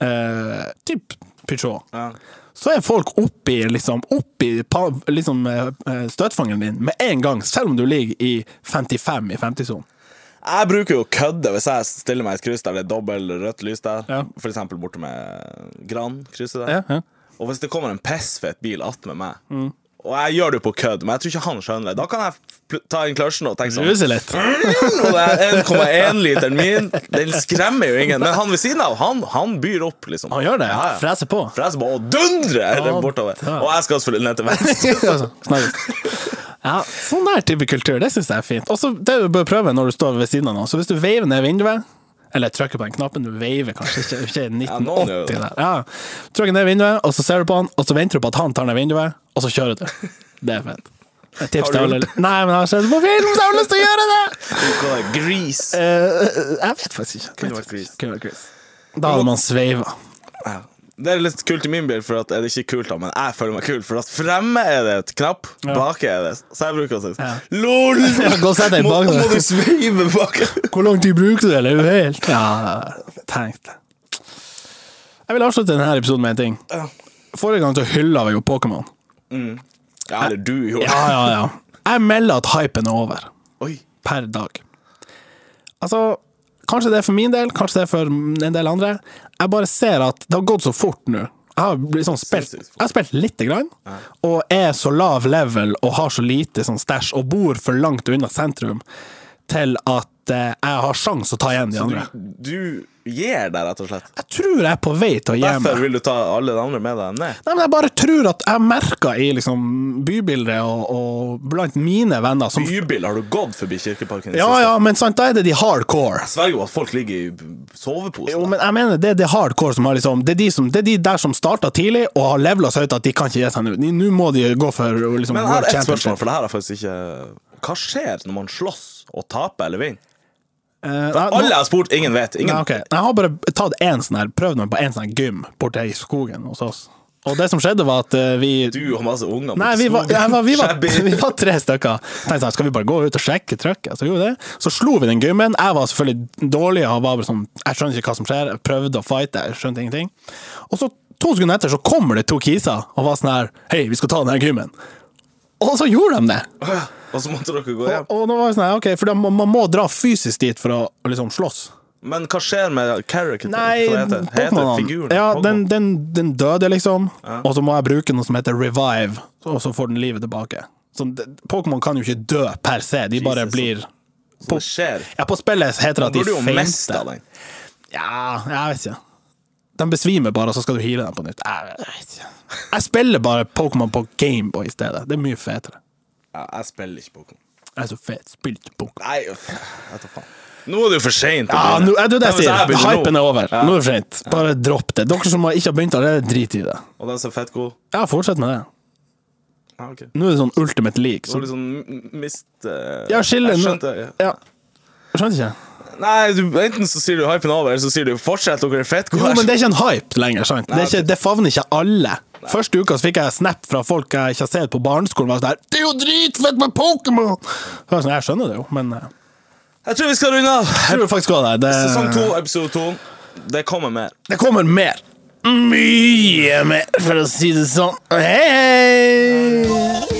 Speaker 2: eh, typ Peugeot, så er folk oppi, liksom, oppi pa- liksom, eh, eh, støtfangeren din med en gang, selv om du ligger i 55 i 50-sonen.
Speaker 1: Jeg bruker jo å kødde hvis jeg stiller meg i et kryss der det er dobbelt rødt lys der.
Speaker 2: Ja.
Speaker 1: For eksempel borte med Gran-krysset der.
Speaker 2: Ja, ja. Mm.
Speaker 1: Og hvis det kommer en pissfet bil attmed meg, og jeg gjør det på kødd, men jeg tror ikke han skjønner det, da kan jeg pl- ta inn kløtsjen og tenke sånn "Mm,
Speaker 2: Ruser litt.
Speaker 1: Og den 1,1-literen min, den skremmer jo ingen. Men han ved siden av, han, han byr opp, liksom.
Speaker 2: Han gjør det.
Speaker 1: Ja, ja.
Speaker 2: Freser på.
Speaker 1: (laughs) Freser på og dundrer
Speaker 2: Ja,
Speaker 1: bortover.
Speaker 2: da.
Speaker 1: Og jeg skal selvfølgelig ned til venstre.
Speaker 2: Altså, snakkes. ja, sånn der type kultur, det syns jeg er fint. Og så det du bør prøve når du står ved siden av noen, så hvis du veiver ned vinduet eller trykker på den knappen, du veiver kanskje ikke, ikke
Speaker 1: noen
Speaker 2: 1980
Speaker 1: gjør det.
Speaker 2: der. Ja. Trykker ned vinduet, og så ser du på han, og så venter du på at han tar ned vinduet, og så kjører du. Det er fett. Et tips
Speaker 1: Har du
Speaker 2: til alle
Speaker 1: gjort
Speaker 2: Nei, men altså, jeg har sett det på film, så jeg har lyst til å gjøre det!
Speaker 1: Gris.
Speaker 2: Eh, jeg vet faktisk ikke.
Speaker 1: Kunne vært Chris.
Speaker 2: Kunne vært Chris. Da hadde man sveiva.
Speaker 1: Ja. Det er litt kult i min bil, for at er det ikke kult da, men jeg føler meg kul. For at fremme er det et knapp, bak er det Så jeg bruker å si
Speaker 2: (laughs)
Speaker 1: sånn,
Speaker 2: Ja.
Speaker 1: LOL!
Speaker 2: Gå og sett deg
Speaker 1: Må,
Speaker 2: bak
Speaker 1: må
Speaker 2: der.
Speaker 1: du sveive bak?
Speaker 2: Hvor lang tid bruker du, eller er du helt Ja, tenk det. Jeg vil avslutte denne episoden med en ting.
Speaker 1: Ja.
Speaker 2: Forrige gang så hylla vi jo Pokémon.
Speaker 1: Ja, eller du gjorde
Speaker 2: Ja, ja, ja. Jeg melder at hypen er over.
Speaker 1: Oi.
Speaker 2: Per dag. Altså, kanskje det er for min del, kanskje det er for en del andre. Jeg bare ser at det har gått så fort nå. Jeg har, blitt sånn spilt,
Speaker 1: Sinnssykt fort.
Speaker 2: jeg har spilt lite grann, og er så lav level og har så lite sånn stæsj og bor for langt unna sentrum til at eh, jeg har sjans å ta igjen de
Speaker 1: Du,
Speaker 2: andre.
Speaker 1: du gir deg, rett og slett.
Speaker 2: Jeg tror jeg er på vei til å gi
Speaker 1: Derfor
Speaker 2: meg.
Speaker 1: vil du ta alle de andre med deg ned.
Speaker 2: Nei, men jeg bare tror at jeg merker i liksom bybildet og, og blant mine venner som
Speaker 1: Bybil, har du gått forbi Kirkeparken? i
Speaker 2: Ja
Speaker 1: siste?
Speaker 2: ja, men sant, da er det de hardcore.
Speaker 1: Jeg sverger jo at folk ligger i sovepose.
Speaker 2: Jo, men jeg mener det er de hardcore som har liksom Det er de, som, det er de der som starta tidlig og har levela så høyt at de kan ikke gi seg nå. De- Nå må de gå for liksom
Speaker 1: Men jeg har
Speaker 2: world
Speaker 1: et spørsmål,
Speaker 2: championship.
Speaker 1: for det her er faktisk ikke Hva skjer når man slåss og taper eller vinner?
Speaker 2: Eh, nei,
Speaker 1: Alle
Speaker 2: nå-
Speaker 1: har spurt, ingen vet. Ingen.
Speaker 2: Nei, ok. Jeg har bare tatt en sånn her, prøvd meg på en sånn her gym borte i skogen hos oss. Og det som skjedde, var at eh, vi
Speaker 1: Du og masse unger.
Speaker 2: Nei,
Speaker 1: mot
Speaker 2: vi var,
Speaker 1: skogen.
Speaker 2: ja, vi, var,
Speaker 1: Shabby.
Speaker 2: (laughs) vi var tre stykker. Tenkte sånn, skal vi bare gå ut og sjekke trøkket? Så gjorde vi det. Så slo vi den gymmen. Jeg var selvfølgelig dårlig og var bare sånn, jeg skjønner ikke hva som skjer. Jeg prøvde å fighte, jeg skjønte ingenting. Og så to sekunder etter så kommer det to kiser og var sånn her, hei, vi skal ta den her gymmen. Og så gjorde de det.
Speaker 1: Og så måtte dere gå hjem.
Speaker 2: Og, og nå var det sånn her, ok, for da, må- man må dra fysisk dit for å å liksom slåss.
Speaker 1: Men hva skjer med characteren?
Speaker 2: Nei,
Speaker 1: Hva heter, det? heter
Speaker 2: Pokémon.
Speaker 1: figuren?
Speaker 2: Ja,
Speaker 1: Pokémon?
Speaker 2: den, den, den døde, liksom. Og så må jeg bruke noe som heter revive, og så får den livet tilbake. Så det- Pokémon kan jo ikke dø per se, de bare
Speaker 1: Jesus.
Speaker 2: blir
Speaker 1: Så det skjer.
Speaker 2: Ja, på spillet heter det at
Speaker 1: Du
Speaker 2: de
Speaker 1: burde jo miste
Speaker 2: feinter.
Speaker 1: den.
Speaker 2: Ja, jeg vet ikke. De besvimer bare, og så skal du heale dem på nytt. Jeg vet ikke. Jeg spiller bare Pokémon på Gameboy i stedet. Det er mye fetere.
Speaker 1: Ja, jeg spiller ikke Pokémon.
Speaker 2: Jeg er så fet. Spilt Pokémon.
Speaker 1: Nei, uff, vet du faen. Nå er det jo for seint.
Speaker 2: Ja, Ah, nå, det er det jeg
Speaker 1: Hvis jeg
Speaker 2: sier.
Speaker 1: begynner nå,
Speaker 2: Hypen er over. Nå er det for sent. Bare dropp det. Dere som har- ikke har begynt allerede, drit i det.
Speaker 1: Og den som er fett god
Speaker 2: Ja, fortsett med det.
Speaker 1: ja, ok. Det
Speaker 2: Nå er det sånn Ultimate League. Så,
Speaker 1: var litt sånn mist... eh,
Speaker 2: ja, skille
Speaker 1: jeg
Speaker 2: nå.
Speaker 1: skjønte, ja.
Speaker 2: Ja. Jeg skjønte ikke.
Speaker 1: Nei, du, enten så sier du hypen over, eller så sier du fortsett, dere er fett
Speaker 2: Jo,
Speaker 1: gode.
Speaker 2: men det er ikke en hype lenger, sant? Det, er ikke, det favner ikke alle. Første uka så fikk jeg snap fra folk jeg ikke har sett på barneskolen. Var sånn der, 'Det er jo dritfett med Pokémon!' Så jeg var sånn, Jeg skjønner det jo, men eh,
Speaker 1: Jeg tror vi skal runde av.
Speaker 2: jeg tror faktisk også det.
Speaker 1: Sesong to,
Speaker 2: Det,
Speaker 1: episode to. Det kommer mer.
Speaker 2: det kommer mer. Mye mer, for å si det sånn. Hei, hei!